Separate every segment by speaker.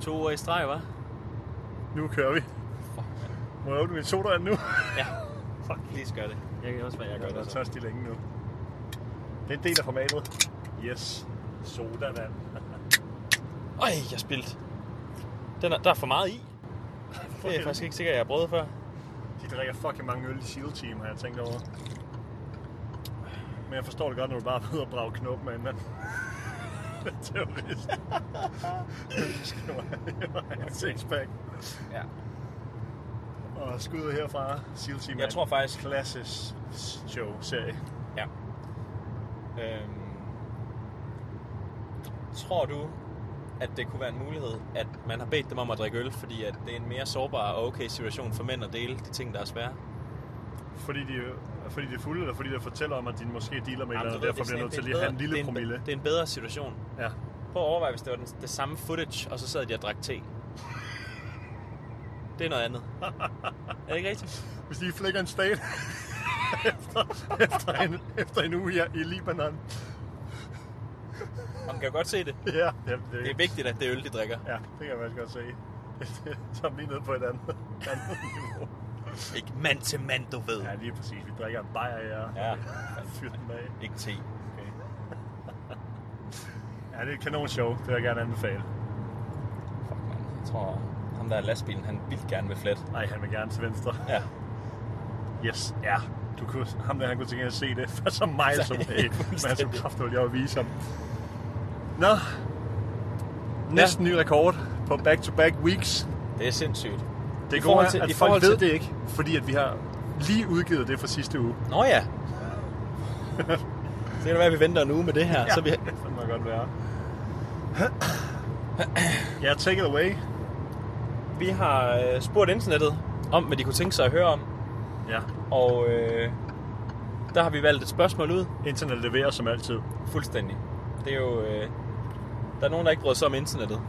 Speaker 1: To uger i streg, hva'?
Speaker 2: Nu kører vi. Må jeg åbne min sodavand nu?
Speaker 1: Ja. Fuck, lige skal det. Jeg kan også være, jeg gør
Speaker 2: Jeg er
Speaker 1: det. Så.
Speaker 2: tørstig længe nu. Det er en del af formatet. Yes. Sodavand.
Speaker 1: Øj, jeg spildt. Den er, der er for meget i. Det er jeg faktisk ikke sikker, jeg har prøvet før.
Speaker 2: De drikker fucking mange øl i SEAL Team, har jeg tænkt over. Men jeg forstår det godt, når du bare er ude og brage knoppen med en mand. Terrorist. Det var- det var en sixpack.
Speaker 1: Ja.
Speaker 2: Og skud herfra. SEAL Team
Speaker 1: Jeg
Speaker 2: er
Speaker 1: tror
Speaker 2: en
Speaker 1: faktisk-
Speaker 2: klassisk show-serie.
Speaker 1: Ja. Øhm, tror du, at det kunne være en mulighed, at man har bedt dem om at drikke øl, fordi at det er en mere sårbar og okay situation for mænd at dele de ting, der er svære?
Speaker 2: Fordi de, fordi de er fulde, eller fordi de fortæller om, at de måske dealer med et eller
Speaker 1: Jamen, du
Speaker 2: andet,
Speaker 1: ved,
Speaker 2: derfor
Speaker 1: det er
Speaker 2: bliver nødt til
Speaker 1: sådan
Speaker 2: lige at have
Speaker 1: en-
Speaker 2: en
Speaker 1: det er
Speaker 2: lille
Speaker 1: en bedre-
Speaker 2: promille.
Speaker 1: Det er en bedre situation.
Speaker 2: Ja.
Speaker 1: Prøv at overveje, hvis det var den, det samme footage, og så sad de og drak te. Det er noget andet. er det ikke rigtigt?
Speaker 2: Hvis de flækker en stat efter, efter, en, efter en uge i, i Libanon.
Speaker 1: Man kan jo godt se det.
Speaker 2: Ja, jamen, det,
Speaker 1: Det er vigtigt, at det er øl, de drikker.
Speaker 2: Ja, det kan jeg faktisk godt se. Så er vi lige ned på et andet, andet niveau.
Speaker 1: Ikke mand til mand, du ved.
Speaker 2: Ja, lige præcis. Vi drikker en bajer, ja.
Speaker 1: Ja.
Speaker 2: Fyr den af.
Speaker 1: Ikke te.
Speaker 2: Okay. Ja, det er et kanon show. Det vil jeg gerne anbefale.
Speaker 1: Fuck, man. Jeg tror, ham der er lastbilen, han vil gerne vil flet.
Speaker 2: Nej, han vil gerne til venstre.
Speaker 1: Ja.
Speaker 2: Yes, ja. Du kunne, ham der, han kunne tænke at se det. For så mig
Speaker 1: Så-
Speaker 2: som
Speaker 1: ja,
Speaker 2: hey, men som
Speaker 1: fuldstændig.
Speaker 2: kraft, jeg vil vise ham. Nå, næsten ny rekord på back-to-back weeks.
Speaker 1: Det er sindssygt.
Speaker 2: Det
Speaker 1: I
Speaker 2: gode
Speaker 1: forhold
Speaker 2: er,
Speaker 1: til-
Speaker 2: at
Speaker 1: i
Speaker 2: folk
Speaker 1: forhold
Speaker 2: ved
Speaker 1: til-
Speaker 2: det ikke, fordi at vi har lige udgivet det fra sidste uge.
Speaker 1: Nå ja. Så kan det være, at vi venter en uge med det her. Ja. Så vi...
Speaker 2: Det kan godt være. ja, take it away.
Speaker 1: vi har øh, spurgt internettet om, hvad de kunne tænke sig at høre om.
Speaker 2: Ja,
Speaker 1: Og øh, der har vi valgt et spørgsmål ud.
Speaker 2: internet leverer som altid.
Speaker 1: Fuldstændig. Det er jo... Øh, der er nogen, der ikke bryder sig om internettet.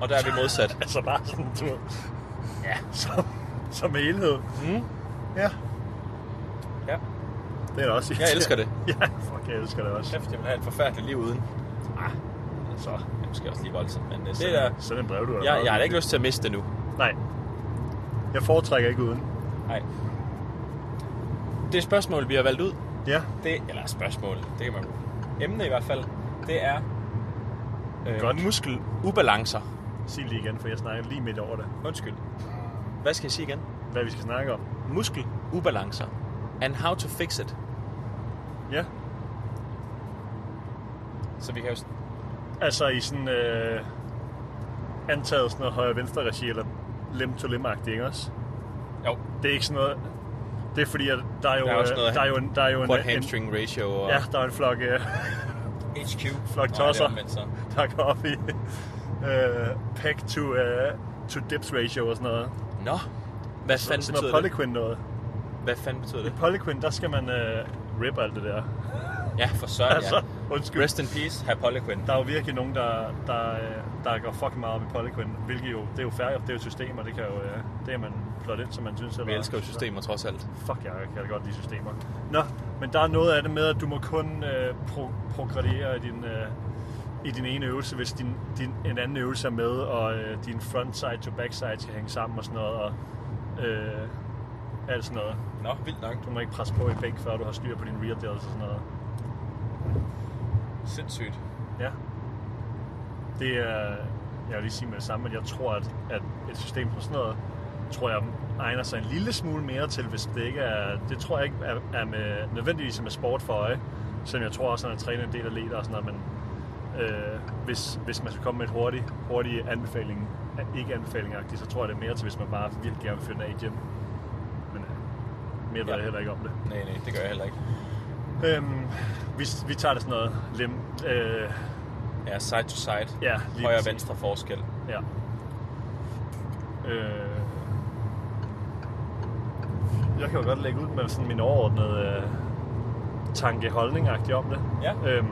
Speaker 1: Og der er vi modsat.
Speaker 2: Altså bare sådan, du ved, Ja, som, som helhed.
Speaker 1: Mm.
Speaker 2: Ja,
Speaker 1: Ja.
Speaker 2: det er da også
Speaker 1: Jeg elsker det.
Speaker 2: Ja, fuck, jeg elsker det også.
Speaker 1: Kæft, jeg vil have et forfærdeligt liv uden.
Speaker 2: Ah, så.
Speaker 1: Det er måske også lige voldsomt, men øh, det er...
Speaker 2: Send en brev, du har
Speaker 1: Jeg, jeg har da ikke lyst til at miste det nu.
Speaker 2: Nej. Jeg foretrækker ikke uden.
Speaker 1: Nej. Det spørgsmål, vi har valgt ud,
Speaker 2: Ja,
Speaker 1: det, eller spørgsmål, det kan man emne i hvert fald, det er øh,
Speaker 2: Godt.
Speaker 1: muskelubalancer.
Speaker 2: sig lige igen, for jeg snakker lige midt over det.
Speaker 1: Undskyld. Hvad skal jeg sige igen?
Speaker 2: Hvad vi skal snakke om.
Speaker 1: Muskelubalancer. And how to fix it.
Speaker 2: Ja,
Speaker 1: Så vi kan jo... s-
Speaker 2: altså i sådan øh, antaget sådan noget højre-venstre regi, eller lem-to-lem-agtigt, ikke også?
Speaker 1: Jo,
Speaker 2: Det er ikke sådan noget... Det er fordi, at der er jo,
Speaker 1: Der er også
Speaker 2: øh,
Speaker 1: noget-
Speaker 2: der er jo, en, der er jo en,
Speaker 1: quad
Speaker 2: en,
Speaker 1: hamstring ratio og
Speaker 2: ja, der er en flok, øh,
Speaker 1: HQ.
Speaker 2: flok
Speaker 1: Nej, det er
Speaker 2: tosser,
Speaker 1: omvendt så.
Speaker 2: der går op i øh, peg to, øh, to dips ratio og sådan noget.
Speaker 1: Nå, hvad fanden
Speaker 2: sådan
Speaker 1: betyder det?
Speaker 2: noget polyquin noget.
Speaker 1: Hvad fanden betyder det?
Speaker 2: Polyquin, der skal man øh, rip alt det der.
Speaker 1: Ja, for søren,
Speaker 2: Altså,
Speaker 1: ja.
Speaker 2: undskyld.
Speaker 1: Rest in peace, herr Poliquin.
Speaker 2: Der er jo virkelig nogen, der, der, øh, der går fucking meget op i polyquin, hvilket jo, det er jo færdigt, det er jo et system, og det kan jo, øh, det er man plot ind, som man synes.
Speaker 1: Vi elsker jo systemer trods alt.
Speaker 2: Fuck, jeg kan godt lide systemer. Nå, men der er noget af det med, at du må kun øh, pro- progredere i din, øh, i din ene øvelse, hvis din, din, en anden øvelse er med, og øh, din frontside to backside skal hænge sammen og sådan noget, og øh, alt sådan noget.
Speaker 1: Nå, vildt nok.
Speaker 2: Du må ikke presse på i begge, før du har styr på din rear delts og sådan noget.
Speaker 1: Sindssygt.
Speaker 2: Ja. Det er, jeg vil lige sige med det samme, at jeg tror, at, at et system som sådan noget, tror jeg egner sig en lille smule mere til, hvis det ikke er, det tror jeg ikke er, er med, nødvendigvis er med sport for øje, som jeg tror også, at træner en del af leder og sådan noget, men øh, hvis, hvis man skal komme med et hurtigt, hurtigt anbefaling, ikke anbefaling så tror jeg det er mere til, hvis man bare virkelig gerne vil fyre den af i gym. Men øh, mere ved
Speaker 1: Ja.
Speaker 2: jeg heller ikke om det.
Speaker 1: Nej, nej, det gør jeg heller ikke.
Speaker 2: Øhm, vi, vi tager det sådan noget lem, øh,
Speaker 1: Ja, side to side.
Speaker 2: Ja, lige
Speaker 1: Højre og
Speaker 2: præcis.
Speaker 1: venstre forskel.
Speaker 2: Ja. Øh, jeg kan jo godt lægge ud med sådan min overordnede øh, tankeholdning om det.
Speaker 1: Ja.
Speaker 2: Øhm,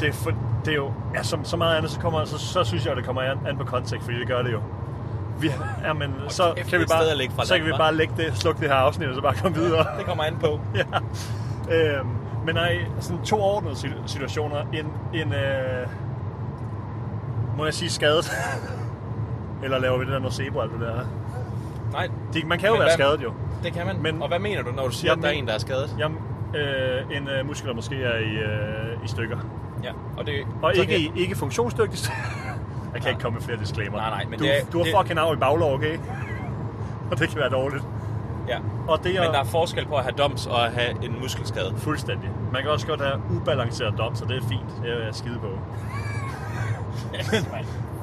Speaker 2: det, er for, det er jo, ja, som så meget andet, så, kommer, så, så synes jeg, at det kommer an, an på kontekst, fordi det gør det jo. Vi, ja, men, så,
Speaker 1: kæft,
Speaker 2: kan vi
Speaker 1: et sted at lægge
Speaker 2: bare,
Speaker 1: fra
Speaker 2: så kan vi
Speaker 1: land, hva'?
Speaker 2: bare lægge det, slukke det her afsnit, og så bare komme videre.
Speaker 1: Det kommer an på.
Speaker 2: ja. Øhm, men nej, sådan to ordnede sit- situationer. En, en øh, Må jeg sige skadet? Eller laver vi det der nocebo og alt det der?
Speaker 1: Nej,
Speaker 2: Det, man kan jo
Speaker 1: Men
Speaker 2: være
Speaker 1: hvad-
Speaker 2: skadet jo.
Speaker 1: det kan man.
Speaker 2: Men-
Speaker 1: Men, og hvad mener du, når du siger,
Speaker 2: Jeg
Speaker 1: at der er
Speaker 2: men-
Speaker 1: en, der er skadet?
Speaker 2: Jamen, øh, en øh, muskel, der måske er i, øh, i stykker.
Speaker 1: Ja. Og, det,
Speaker 2: Og
Speaker 1: så
Speaker 2: ikke,
Speaker 1: kan-
Speaker 2: i- ikke funktionsdygtig stykker. Jeg kan ikke komme med flere disclaimer.
Speaker 1: Nej, nej, men
Speaker 2: du,
Speaker 1: det er-
Speaker 2: du har
Speaker 1: det-
Speaker 2: fucking arv i baglov, okay? og det kan være dårligt.
Speaker 1: Ja.
Speaker 2: Og det er
Speaker 1: Men der er forskel på at have doms og at have en muskelskade.
Speaker 2: fuldstændig. Man kan også godt have ubalanceret dom, så det er fint. Det er jeg skide på.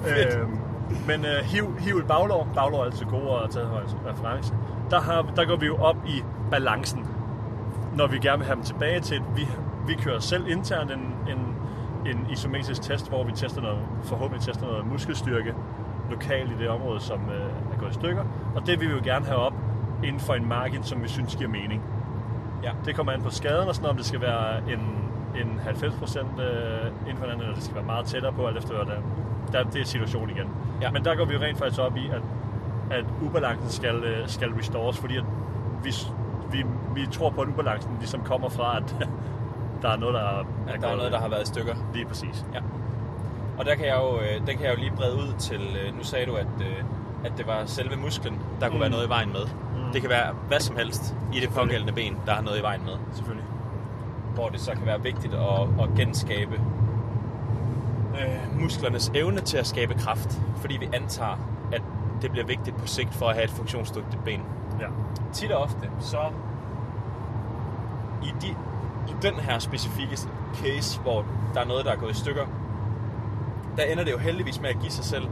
Speaker 2: Øhm, men øh, hiv, hiv et baglov. Baglov er altid gode at tage højst reference. Der, har, der går vi jo op i balancen, når vi gerne vil have dem tilbage til, at vi, vi kører selv internt en, en, en isometrisk test, hvor vi tester noget, forhåbentlig tester noget muskelstyrke lokalt i det område, som øh, er gået i stykker. Og det vil vi jo gerne have op inden for en margin, som vi synes giver mening.
Speaker 1: Ja.
Speaker 2: Det kommer an på skaden og sådan noget, om det skal være en, en 90 procent inden for hinanden, eller det skal være meget tættere på, alt efter hvad der, der det er situationen igen.
Speaker 1: Ja.
Speaker 2: Men der går vi jo rent faktisk op i, at, at ubalancen skal, øh, skal restores, fordi at vi, s- vi, vi tror på, at ubalancen ligesom kommer fra, at der er noget, der er,
Speaker 1: At der er noget, der har været i stykker.
Speaker 2: Lige præcis.
Speaker 1: Ja. Og der kan jeg jo, øh, den kan jeg jo lige brede ud til, øh, nu sagde du, at, øh, at det var selve musklen, der kunne
Speaker 2: Mm.
Speaker 1: være noget i vejen med. Det kan være hvad som helst i det pågældende ben, der har noget i vejen med.
Speaker 2: Selvfølgelig.
Speaker 1: Hvor det så kan være vigtigt at, at genskabe øh, musklernes evne til at skabe kraft. Fordi vi antager, at det bliver vigtigt på sigt for at have et funktionsdygtigt ben.
Speaker 2: Ja.
Speaker 1: Tit og ofte, så i, de, i den her specifikke case, hvor der er noget, der er gået i stykker, der ender det jo heldigvis med at give sig selv.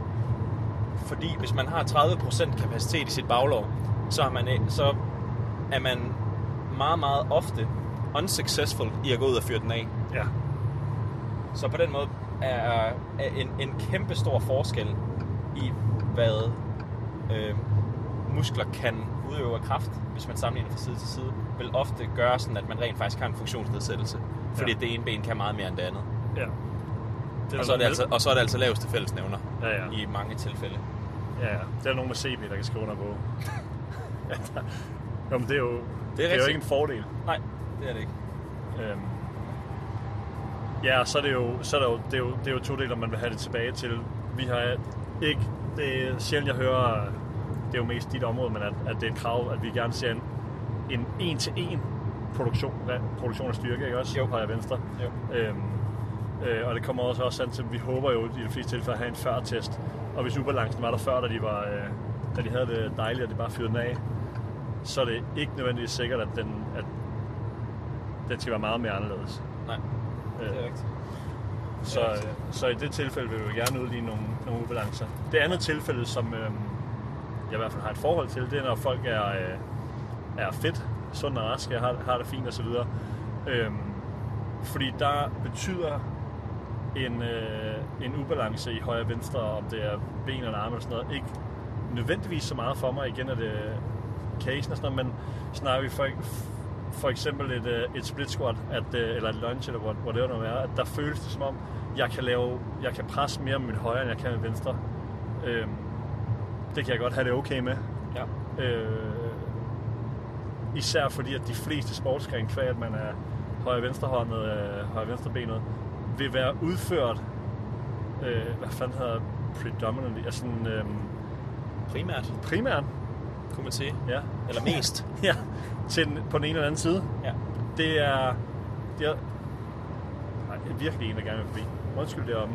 Speaker 1: Fordi hvis man har 30% kapacitet i sit baglov, så er man, så er man meget, meget ofte unsuccessful i at gå ud og fyre den af.
Speaker 2: Ja.
Speaker 1: Så på den måde er, er en, en kæmpe stor forskel i, hvad øh, muskler kan udøve af kraft, hvis man sammenligner fra side til side, vil ofte gøre sådan, at man rent faktisk har en funktionsnedsættelse. Fordi
Speaker 2: Ja.
Speaker 1: ja. det ene ben kan meget mere end det andet.
Speaker 2: ja. Det
Speaker 1: Og så, er det altså, og så er det altså laveste fællesnævner
Speaker 2: Ja, ja.
Speaker 1: i mange tilfælde.
Speaker 2: Ja, ja. Det er nogen med CB, der kan skrive under på. Jamen, det er jo, det er det er jo
Speaker 1: rigtigt.
Speaker 2: ikke en fordel.
Speaker 1: Nej, det er det ikke.
Speaker 2: Øhm. Ja, og så er det jo, så er det jo, det er jo, det er jo to dele, om man vil have det tilbage til. Vi har ikke, det er sjældent, jeg hører, det er jo mest dit område, men at, at det er et krav, at vi gerne ser en, en en-til-en produktion, af- produktion af styrke, ikke også?
Speaker 1: Jo.
Speaker 2: Højre og venstre.
Speaker 1: Jo.
Speaker 2: Øhm, øh, og det kommer også også an til, vi håber jo i de fleste tilfælde at have en førtest. Og hvis ubalancen var der før, da de, var, øh, da de havde det dejligt, og de bare fyrede den af, så er det ikke nødvendigvis sikkert, at den, at den skal være meget mere anderledes. Øh,
Speaker 1: Nej, det er rigtigt.
Speaker 2: Så,
Speaker 1: Ja, ja.
Speaker 2: så i det tilfælde vil vi gerne udligne nogle, nogle ubalancer. Det andet tilfælde, som øh, jeg i hvert fald har et forhold til, det er, når folk er, øh, er fedt, sund og raske, har, har det fint osv. Øh, fordi der betyder en, øh, en ubalance i højre og venstre, om det er ben eller arme eller sådan noget, ikke nødvendigvis så meget for mig. Igen er det casen og sådan noget, men snarere vi for, for eksempel et, øh, et split squat, at, øh, eller et lunge, eller hvor, hvor det nu er, at der føles det som om, jeg kan, lave, jeg kan presse mere med mit højre, end jeg kan med venstre. Øhm, det kan jeg godt have det okay med.
Speaker 1: Ja.
Speaker 2: Øh, især fordi, at de fleste sportsgrene, kvæg at man er højre-venstrehåndet, øh, højre-venstrebenet, vil være udført, øh, hvad fanden hedder predominantly, altså sådan, øh,
Speaker 1: Primært,
Speaker 2: primært,
Speaker 1: kunne man sige.
Speaker 2: ja,
Speaker 1: Eller mest.
Speaker 2: ja, til den, på den ene eller anden side.
Speaker 1: Ja.
Speaker 2: Det er... Det er Ej, det er virkelig en, der gerne vil forbi. Undskyld deromme.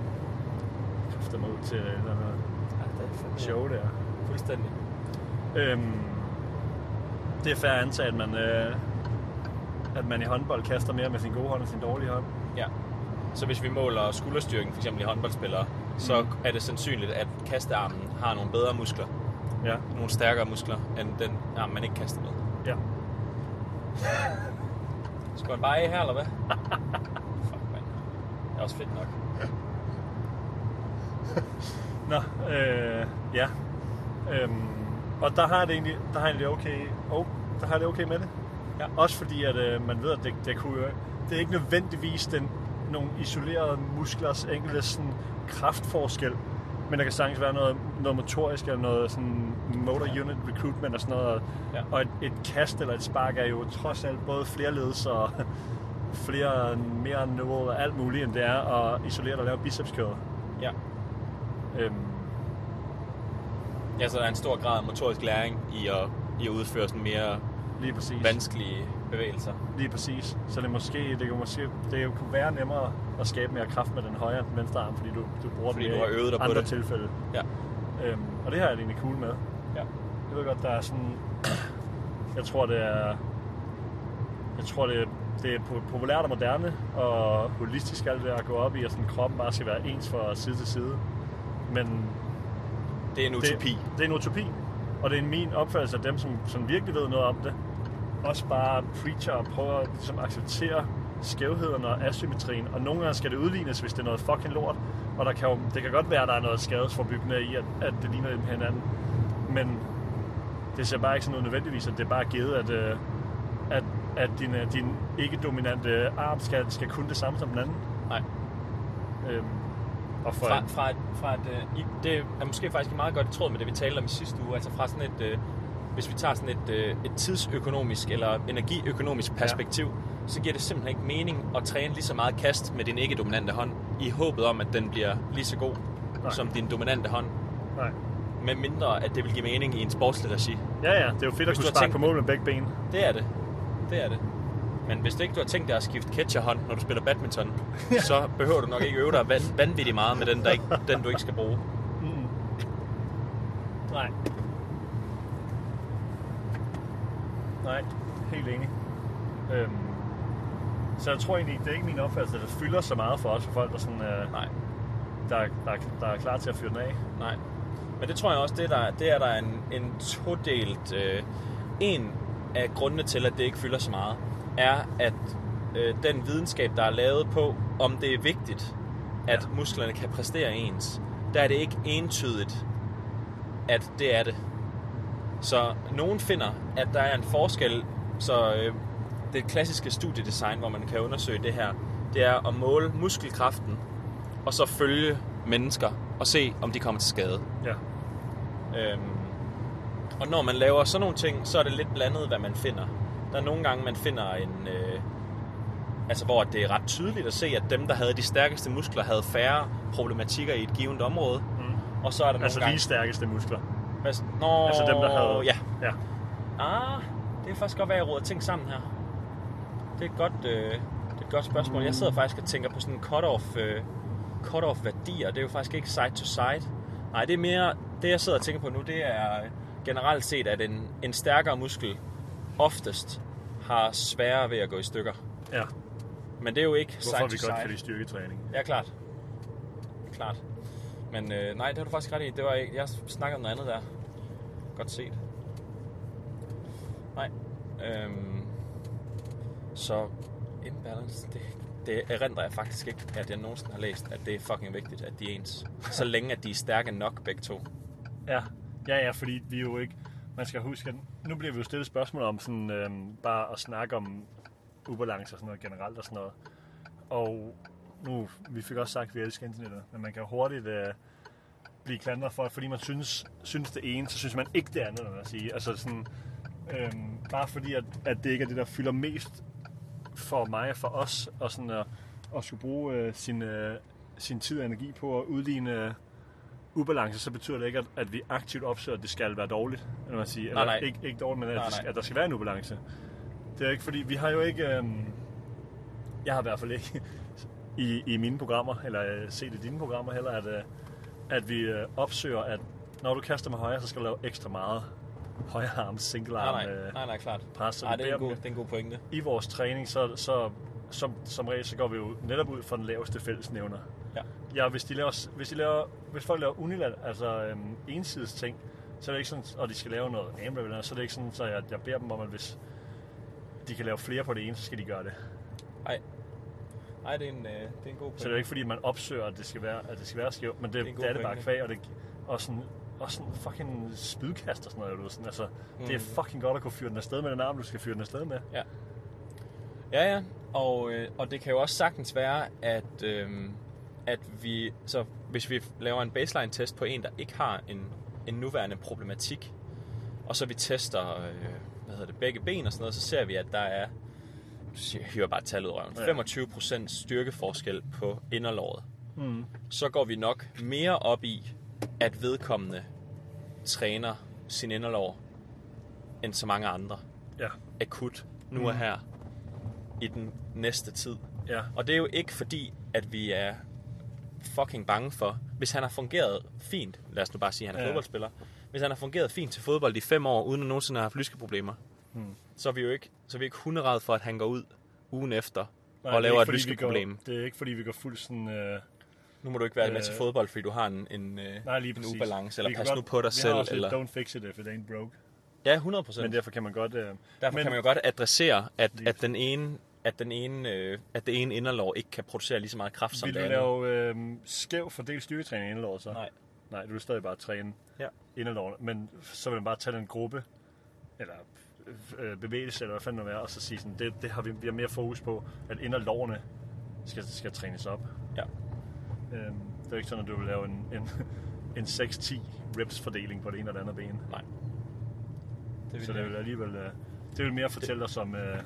Speaker 2: Kræfter mig ud til et eller andet show der.
Speaker 1: Fuldstændig.
Speaker 2: Øhm, det er fair at antage, at man, øh, at man i håndbold kaster mere med sin gode hånd og sin dårlige hånd.
Speaker 1: Ja. Så hvis vi måler skulderstyrken, f.eks. i håndboldspillere, så
Speaker 2: Mm.
Speaker 1: er det sandsynligt, at kastearmen har nogle bedre muskler,
Speaker 2: Ja.
Speaker 1: nogle stærkere muskler, end den arm, man ikke kaster med.
Speaker 2: Ja.
Speaker 1: Skal man bare af her, eller hvad? Fuck, mand. Det er også fedt nok.
Speaker 2: Nå, øh, ja. Øhm, og der har jeg det egentlig, der har jeg det okay, oh, der har jeg det okay med det.
Speaker 1: Ja.
Speaker 2: Også fordi, at øh, man ved, at det, det, kunne, jo- det er ikke nødvendigvis den, nogle isolerede musklers enkelte sådan, kraftforskel, men der kan sagtens være noget, noget motorisk eller noget sådan motor unit recruitment og sådan noget.
Speaker 1: Ja.
Speaker 2: Og et, et kast eller et spark er jo trods alt både flerledes og flere mere nivåer og alt muligt, end det er at isolere og lave bicepskøder.
Speaker 1: Ja.
Speaker 2: Øhm,
Speaker 1: Ja, så der er en stor grad af motorisk læring i at, i at udføre sådan mere
Speaker 2: lige præcis.
Speaker 1: vanskelige bevægelser.
Speaker 2: Lige præcis. Så det måske, det kan måske, det jo kunne være nemmere at skabe mere kraft med den højre end den venstre arm, fordi du, du bruger
Speaker 1: Fordi
Speaker 2: den
Speaker 1: du
Speaker 2: mere
Speaker 1: har øvet dig
Speaker 2: i
Speaker 1: på
Speaker 2: andre
Speaker 1: det.
Speaker 2: tilfælde.
Speaker 1: Ja.
Speaker 2: Øhm, og det har jeg det egentlig cool med.
Speaker 1: ja.
Speaker 2: Jeg ved godt, der er sådan... Jeg tror, det er... Jeg tror, det er, det er po- populært og moderne og holistisk alt det der at gå op i, at sådan, kroppen bare skal være ens fra side til side. Men
Speaker 1: Det er en utopi.
Speaker 2: det, det er en utopi, og det er min opfattelse af dem, som, som virkelig ved noget om det. Også bare preacher og prøver at ligesom, acceptere skævheden og asymmetrien, og nogle gange skal det udlignes, hvis det er noget fucking lort, og der kan jo, det kan godt være, at der er noget skadesforbyggende i, at, at det ligner lidt hinanden, men det ser bare ikke sådan ud nødvendigvis, at det er bare givet, at, øh, at, at din, øh, din ikke-dominante arm skal, skal kunne det samme som den anden.
Speaker 1: Nej.
Speaker 2: Øhm, og for,
Speaker 1: Fra, fra, et, fra et, øh, i, det er måske faktisk meget godt i tråd med det, vi talte om i sidste uge. Altså fra sådan et, øh, hvis vi tager sådan et, øh, et tidsøkonomisk eller energiøkonomisk perspektiv, ja. så giver det simpelthen ikke mening at træne lige så meget kast med din ikke-dominante hånd, i håbet om, at den bliver lige så god
Speaker 2: Nej.
Speaker 1: Nej. som din dominante hånd.
Speaker 2: nej.
Speaker 1: Med mindre, at det vil give mening i en sportslig regi.
Speaker 2: Ja, ja, det er jo fedt
Speaker 1: Hvis du
Speaker 2: at kunne
Speaker 1: har
Speaker 2: sparke
Speaker 1: tænkt-
Speaker 2: på mål med begge ben.
Speaker 1: Det er det. Det er det. Men hvis ikke du har tænkt dig at skifte catcherhånd, når du spiller badminton, så behøver du nok ikke øve dig van- vanvittigt meget med den, der ikke, den du ikke skal bruge.
Speaker 2: Mm. Nej. Nej, helt enig. Øhm, så jeg tror egentlig, det er ikke min opfattelse, at det fylder så meget for os, for folk, der, sådan, øh,
Speaker 1: Nej,
Speaker 2: der, der, der er klar til at fyre den af.
Speaker 1: nej. Men det tror jeg også, det er der, det er der en, en todelt... Øh, en af grundene til, at det ikke fylder så meget, er, at øh, den videnskab, der er lavet på, om det er vigtigt, at musklerne kan præstere ens, der er det ikke entydigt, at det er det. Så nogen finder, at der er en forskel, så øh, det klassiske studiedesign, hvor man kan undersøge det her, det er at måle muskelkraften, og så følge mennesker, og se, om de kommer til skade.
Speaker 2: Ja.
Speaker 1: Øhm, og når man laver sådan nogle ting, så er det lidt blandet, hvad man finder. Der er nogle gange, man finder en... Øh, altså, hvor det er ret tydeligt at se, at dem, der havde de stærkeste muskler, havde færre problematikker i et givet område.
Speaker 2: Mm.
Speaker 1: Og så er der
Speaker 2: Altså
Speaker 1: nogle
Speaker 2: lige stærkeste muskler.
Speaker 1: gange... Altså, Nå,
Speaker 2: Altså dem, der havde...
Speaker 1: Ja.
Speaker 2: ja.
Speaker 1: Ah, det er faktisk godt, hvad jeg råder ting sammen her. Det er et godt, øh, det er et godt spørgsmål. Jeg sidder faktisk og tænker på sådan en cut-off, øh, cut-off værdier. Det er jo faktisk ikke side to side. Nej, det er mere, det jeg sidder og tænker på nu, det er øh, generelt set, at en, en stærkere muskel oftest har sværere ved at gå i stykker.
Speaker 2: ja.
Speaker 1: Men det er jo ikke
Speaker 2: Hvorfor vi
Speaker 1: side to
Speaker 2: godt
Speaker 1: side.
Speaker 2: kan lide styrketræning.
Speaker 1: Ja, klart. Klart. Men øh, nej, det har du faktisk ret i. Det var ikke, jeg snakker om noget andet der. Godt set. Nej. Øhm, så imbalance, det, det erindrer jeg faktisk ikke, at jeg nogensinde har læst, at det er fucking vigtigt, at de er ens. Så længe, at de er stærke nok begge to.
Speaker 2: Ja, ja, ja, fordi vi jo ikke... Man skal huske, at nu bliver vi jo stillet spørgsmål om sådan, øhm, bare at snakke om ubalance og sådan noget generelt og sådan noget. Og nu, vi fik også sagt, at vi elsker internettet, men man kan jo hurtigt øh, blive klandret for, at fordi man synes, synes det ene, så synes man ikke det andet, eller hvad jeg sige. Altså sådan, øhm, bare fordi, at, at det ikke er det, der fylder mest for mig og for os, og sådan at, at skulle bruge øh, sin, øh, sin tid og energi på at udligne øh, ubalance, så betyder det ikke, at, at vi aktivt opsøger, at det skal være dårligt. Eller man siger,
Speaker 1: Nej,
Speaker 2: eller
Speaker 1: nej.
Speaker 2: Ikke, ikke dårligt, men at,
Speaker 1: Nej,
Speaker 2: nej, nej.
Speaker 1: nej.
Speaker 2: at der skal være en ubalance. Det er ikke fordi, vi har jo ikke... Øhm, jeg har i hvert fald ikke i, i mine programmer, eller øh, set i dine programmer heller, at, øh, at vi øh, opsøger, at når du kaster med højre, så skal du lave ekstra meget højre arm, single arm.
Speaker 1: Nej, nej,
Speaker 2: øh,
Speaker 1: nej, nej klart.
Speaker 2: pres, så
Speaker 1: nej,
Speaker 2: vi
Speaker 1: det er, en
Speaker 2: beder
Speaker 1: god,
Speaker 2: dem-
Speaker 1: det er en god pointe.
Speaker 2: I vores træning, så, så som, som regel, så går vi jo netop ud fra den laveste fællesnævner.
Speaker 1: Ja.
Speaker 2: Ja, hvis, de laver, hvis, de laver, hvis folk laver unilat, altså øhm, ensides ting, så er det ikke sådan, og de skal lave noget amrap eller noget, så er det ikke sådan, så jeg, jeg beder dem om, at hvis de kan lave flere på det ene, så skal de gøre det.
Speaker 1: Nej, nej det, er en, øh, det er en god
Speaker 2: Så det er jo
Speaker 1: pointe.
Speaker 2: ikke fordi, man opsøger, at det skal være, at det skal være skævt, men det,
Speaker 1: Det er en
Speaker 2: det,
Speaker 1: god
Speaker 2: er det bare
Speaker 1: pointe.
Speaker 2: kvæg, og, det, og sådan, og sådan fucking spydkast og sådan noget, du ved, sådan, altså, mm. det er fucking godt at kunne fyre den afsted med den arm, du skal fyre den afsted med.
Speaker 1: Ja. Ja, ja. Og, øh, og det kan jo også sagtens være, at, øh, at vi, så hvis vi laver en baseline-test på en, der ikke har en, en nuværende problematik, og så vi tester øh, hvad hedder det, begge ben og sådan noget, så ser vi, at der er, jeg hører bare tallet ud af
Speaker 2: Ja.
Speaker 1: røven, 25% styrkeforskel på inderlåret.
Speaker 2: Mm.
Speaker 1: Så går vi nok mere op i, at vedkommende træner sin inderlov end så mange andre
Speaker 2: Ja,
Speaker 1: akut nu og her i den næste tid.
Speaker 2: ja,
Speaker 1: Og det er jo ikke fordi, at vi er fucking bange for, hvis han har fungeret fint, lad os nu bare sige, at han er
Speaker 2: Ja.
Speaker 1: ja. fodboldspiller, hvis han har fungeret fint til fodbold i fem år, uden at nogensinde have haft lyskeproblemer, hmm. så er vi jo ikke, så er vi ikke hunderede for, at han går ud ugen efter Nej,
Speaker 2: Nej, det er
Speaker 1: og laver
Speaker 2: ikke,
Speaker 1: et
Speaker 2: fordi vi
Speaker 1: lyskeproblem.
Speaker 2: Går, det er ikke fordi, vi går fuld sådan... Øh,
Speaker 1: Nu må du ikke være med
Speaker 2: Øh,
Speaker 1: til fodbold, fordi du har en, en, øh,
Speaker 2: nej, lige
Speaker 1: en
Speaker 2: præcis.
Speaker 1: ubalance,
Speaker 2: Vi
Speaker 1: eller
Speaker 2: kan
Speaker 1: pas nu
Speaker 2: godt-
Speaker 1: på dig
Speaker 2: vi har
Speaker 1: selv.
Speaker 2: også lidt
Speaker 1: Eller...
Speaker 2: Don't fix it if it ain't broke.
Speaker 1: Ja, 100 procent.
Speaker 2: Men derfor kan man godt... Øh,
Speaker 1: Derfor
Speaker 2: men,
Speaker 1: men, kan man jo godt adressere, at,
Speaker 2: Lige
Speaker 1: at den ene at den ene, øh, at det ene inderlov ikke kan producere lige så meget kraft som
Speaker 2: Vil
Speaker 1: det
Speaker 2: du
Speaker 1: andet.
Speaker 2: lave øh, skæv fordelt styrketræning inden låret så?
Speaker 1: Nej.
Speaker 2: Nej, du vil stadig bare træne
Speaker 1: Ja.
Speaker 2: inderlåret, men så vil man bare tage en gruppe, eller øh, bevægelse, eller hvad fanden det er, og så sige sådan, det, det har vi, vi har mere fokus på, at inderlårene skal, skal trænes op.
Speaker 1: Ja.
Speaker 2: Øhm, det er jo ikke sådan, at du vil lave en, en, en 6-10 reps fordeling på det ene og det andet ben.
Speaker 1: Nej.
Speaker 2: Det
Speaker 1: vil
Speaker 2: så
Speaker 1: jeg
Speaker 2: det vil alligevel øh, det vil mere fortælle os om, øh,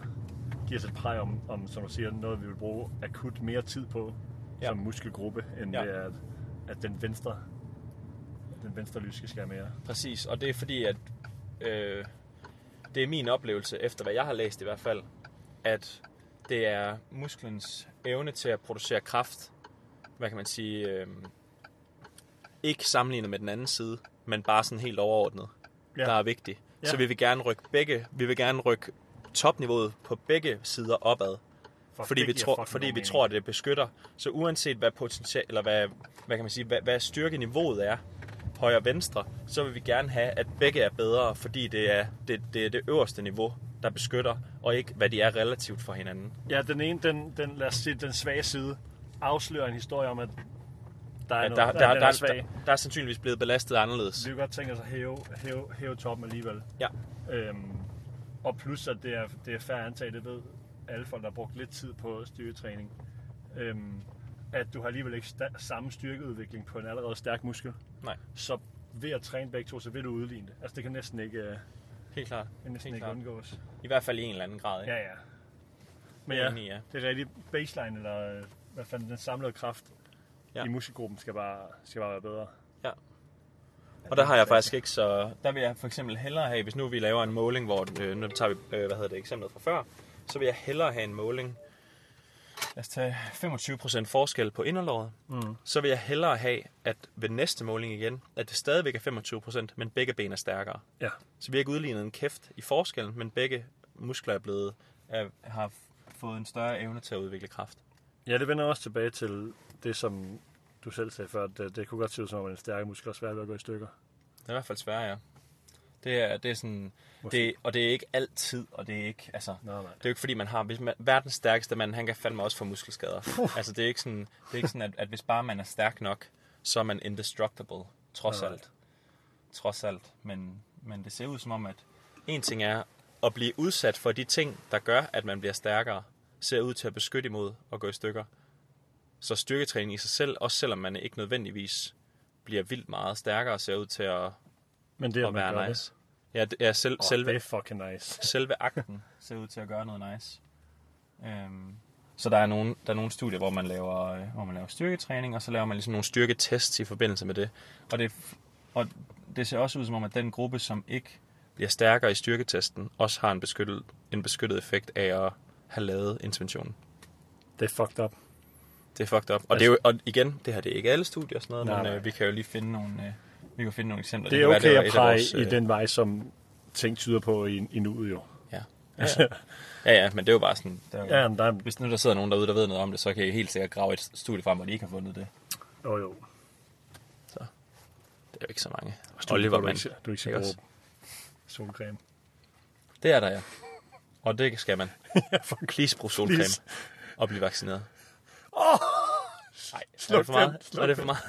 Speaker 2: give os et præg om, om, som du siger, noget vi vil bruge akut mere tid på ja.
Speaker 1: Ja.
Speaker 2: som muskelgruppe, end ja.
Speaker 1: Ja.
Speaker 2: det er, at, at den venstre den venstre lyske skal mere.
Speaker 1: Præcis, og det er fordi, at øh, det er min oplevelse, efter hvad jeg har læst i hvert fald, at det er musklens evne til at producere kraft, hvad kan man sige, øh, ikke sammenlignet med den anden side, men bare sådan helt overordnet,
Speaker 2: Ja.
Speaker 1: ja. der er vigtig.
Speaker 2: Ja.
Speaker 1: Ja. Så vi vil gerne rykke begge, vi vil gerne rykke topniveauet på begge sider opad,
Speaker 2: For
Speaker 1: fordi
Speaker 2: det
Speaker 1: vi
Speaker 2: giver
Speaker 1: tror,
Speaker 2: fucking
Speaker 1: fordi
Speaker 2: god
Speaker 1: vi
Speaker 2: mening.
Speaker 1: tror, at det beskytter. Så uanset hvad potentiale, eller hvad, hvad kan man sige, hvad, hvad styrkeniveauet er, højre og venstre, så vil vi gerne have, at begge er bedre, fordi det er det, det, er det øverste niveau, der beskytter, og ikke hvad de er relativt for hinanden.
Speaker 2: Ja, den ene, den, den, lad os sige, den svage side, afslører en historie om, at der er
Speaker 1: Ja,
Speaker 2: noget,
Speaker 1: der, der,
Speaker 2: at
Speaker 1: der,
Speaker 2: den er
Speaker 1: der,
Speaker 2: svag.
Speaker 1: der, der er sandsynligvis blevet belastet anderledes.
Speaker 2: Vi kunne godt tænke os at hæve, hæve, hæve toppen alligevel.
Speaker 1: Ja,
Speaker 2: Øhm, og plus, at det er, det er færre antag, det ved alle folk, der har brugt lidt tid på styrketræning. Øhm, at du har alligevel ikke sta- samme styrkeudvikling på en allerede stærk muskel.
Speaker 1: nej,
Speaker 2: Så ved at træne begge to, så vil du udligne det. Altså det kan næsten ikke, øh,
Speaker 1: helt klart.
Speaker 2: kan næsten
Speaker 1: Helt
Speaker 2: ikke
Speaker 1: klart.
Speaker 2: undgås.
Speaker 1: I hvert fald i en eller anden grad. Ikke?
Speaker 2: Ja, ja. Men
Speaker 1: Jeg
Speaker 2: ja,
Speaker 1: er enig, ja.
Speaker 2: det er rigtigt. Baseline, eller øh, hvad fanden, den samlede kraft ja.
Speaker 1: Ja.
Speaker 2: i muskelgruppen skal bare, skal bare være bedre.
Speaker 1: Ja. Og der har jeg faktisk ikke så... Der vil jeg for eksempel hellere have, hvis nu vi laver en måling, hvor... Øh, nu tager vi, øh, hvad hedder det, eksemplet fra før. Så vil jeg hellere have en måling... Lad os tage 25% forskel på inderlåret. Mm. Så vil jeg hellere have, at ved næste måling igen, at det stadigvæk er 25%, men begge ben er stærkere.
Speaker 2: Ja.
Speaker 1: Så vi har ikke udlignet en kæft i forskellen, men begge muskler er blevet... Er, har fået en større evne til at udvikle kraft.
Speaker 2: Ja, det vender også tilbage til det, som du selv sagde før, at det, det kunne godt se ud som om, at den stærke muskel er svær ved at gå i stykker.
Speaker 1: Det er i hvert fald svært, ja. Det er, det er sådan... Det, og det er ikke altid, og det er ikke... Altså,
Speaker 2: Nej, nej.
Speaker 1: Det er jo ikke fordi, man har... Hvis man, verdens stærkeste mand, han kan fandme også få muskelskader. Puh. Altså, det er ikke sådan, det er ikke sådan at, at hvis bare man er stærk nok, så er man indestructible, trods
Speaker 2: Nej.
Speaker 1: alt. Trods alt. Men, men det ser ud som om, at en ting er at blive udsat for de ting, der gør, at man bliver stærkere, ser ud til at beskytte imod og gå i stykker. Så styrketræning i sig selv, også selvom man ikke nødvendigvis bliver vildt meget stærkere, ser ud til at,
Speaker 2: Men det er,
Speaker 1: at være nice. Ja, det er selv,
Speaker 2: Det. Selve.
Speaker 1: selve,
Speaker 2: det er fucking nice.
Speaker 1: selve akten ser ud til at gøre noget nice. Øhm, så der er, nogle, der er nogle studier, hvor man, laver, øh, hvor man laver styrketræning, og så laver man ligesom nogle styrketests i forbindelse med det. Og det, og det ser også ud som om, at den gruppe, som ikke bliver stærkere i styrketesten, også har en beskyttet, en beskyttet effekt af at have lavet interventionen.
Speaker 2: Det er fucked up.
Speaker 1: Det er fucked up. Og, det er jo, og igen, det her det er ikke alle studier og sådan noget,
Speaker 2: Nej,
Speaker 1: nej, men
Speaker 2: nej.
Speaker 1: øh, vi kan jo lige finde nogle, øh, vi kan finde nogle eksempler.
Speaker 2: Det er
Speaker 1: kan være,
Speaker 2: okay
Speaker 1: var
Speaker 2: at
Speaker 1: et af
Speaker 2: pege
Speaker 1: vores,
Speaker 2: i
Speaker 1: øh,
Speaker 2: den vej, som ting tyder på i, i nuet jo.
Speaker 1: Ja. Ja, ja. ja, ja, men det er jo bare sådan... Det er jo,
Speaker 2: Ja, men der er...
Speaker 1: Hvis nu der sidder nogen derude, der ved noget om det, så kan I helt sikkert grave et studie frem, hvor de ikke har fundet det.
Speaker 2: Jo, jo.
Speaker 1: Det er jo ikke så mange.
Speaker 2: du,
Speaker 1: Oliver,
Speaker 2: du,
Speaker 1: mand.
Speaker 2: ikke, du ikke skal
Speaker 1: Ikke
Speaker 2: bruge
Speaker 1: også?
Speaker 2: solcreme.
Speaker 1: Det er der, ja. Og det skal man. Please brug solcreme
Speaker 2: Please.
Speaker 1: og blive vaccineret.
Speaker 2: Åh!
Speaker 1: Nej, er
Speaker 2: Sluk
Speaker 1: det for meget?
Speaker 2: den, sluk
Speaker 1: er det for meget?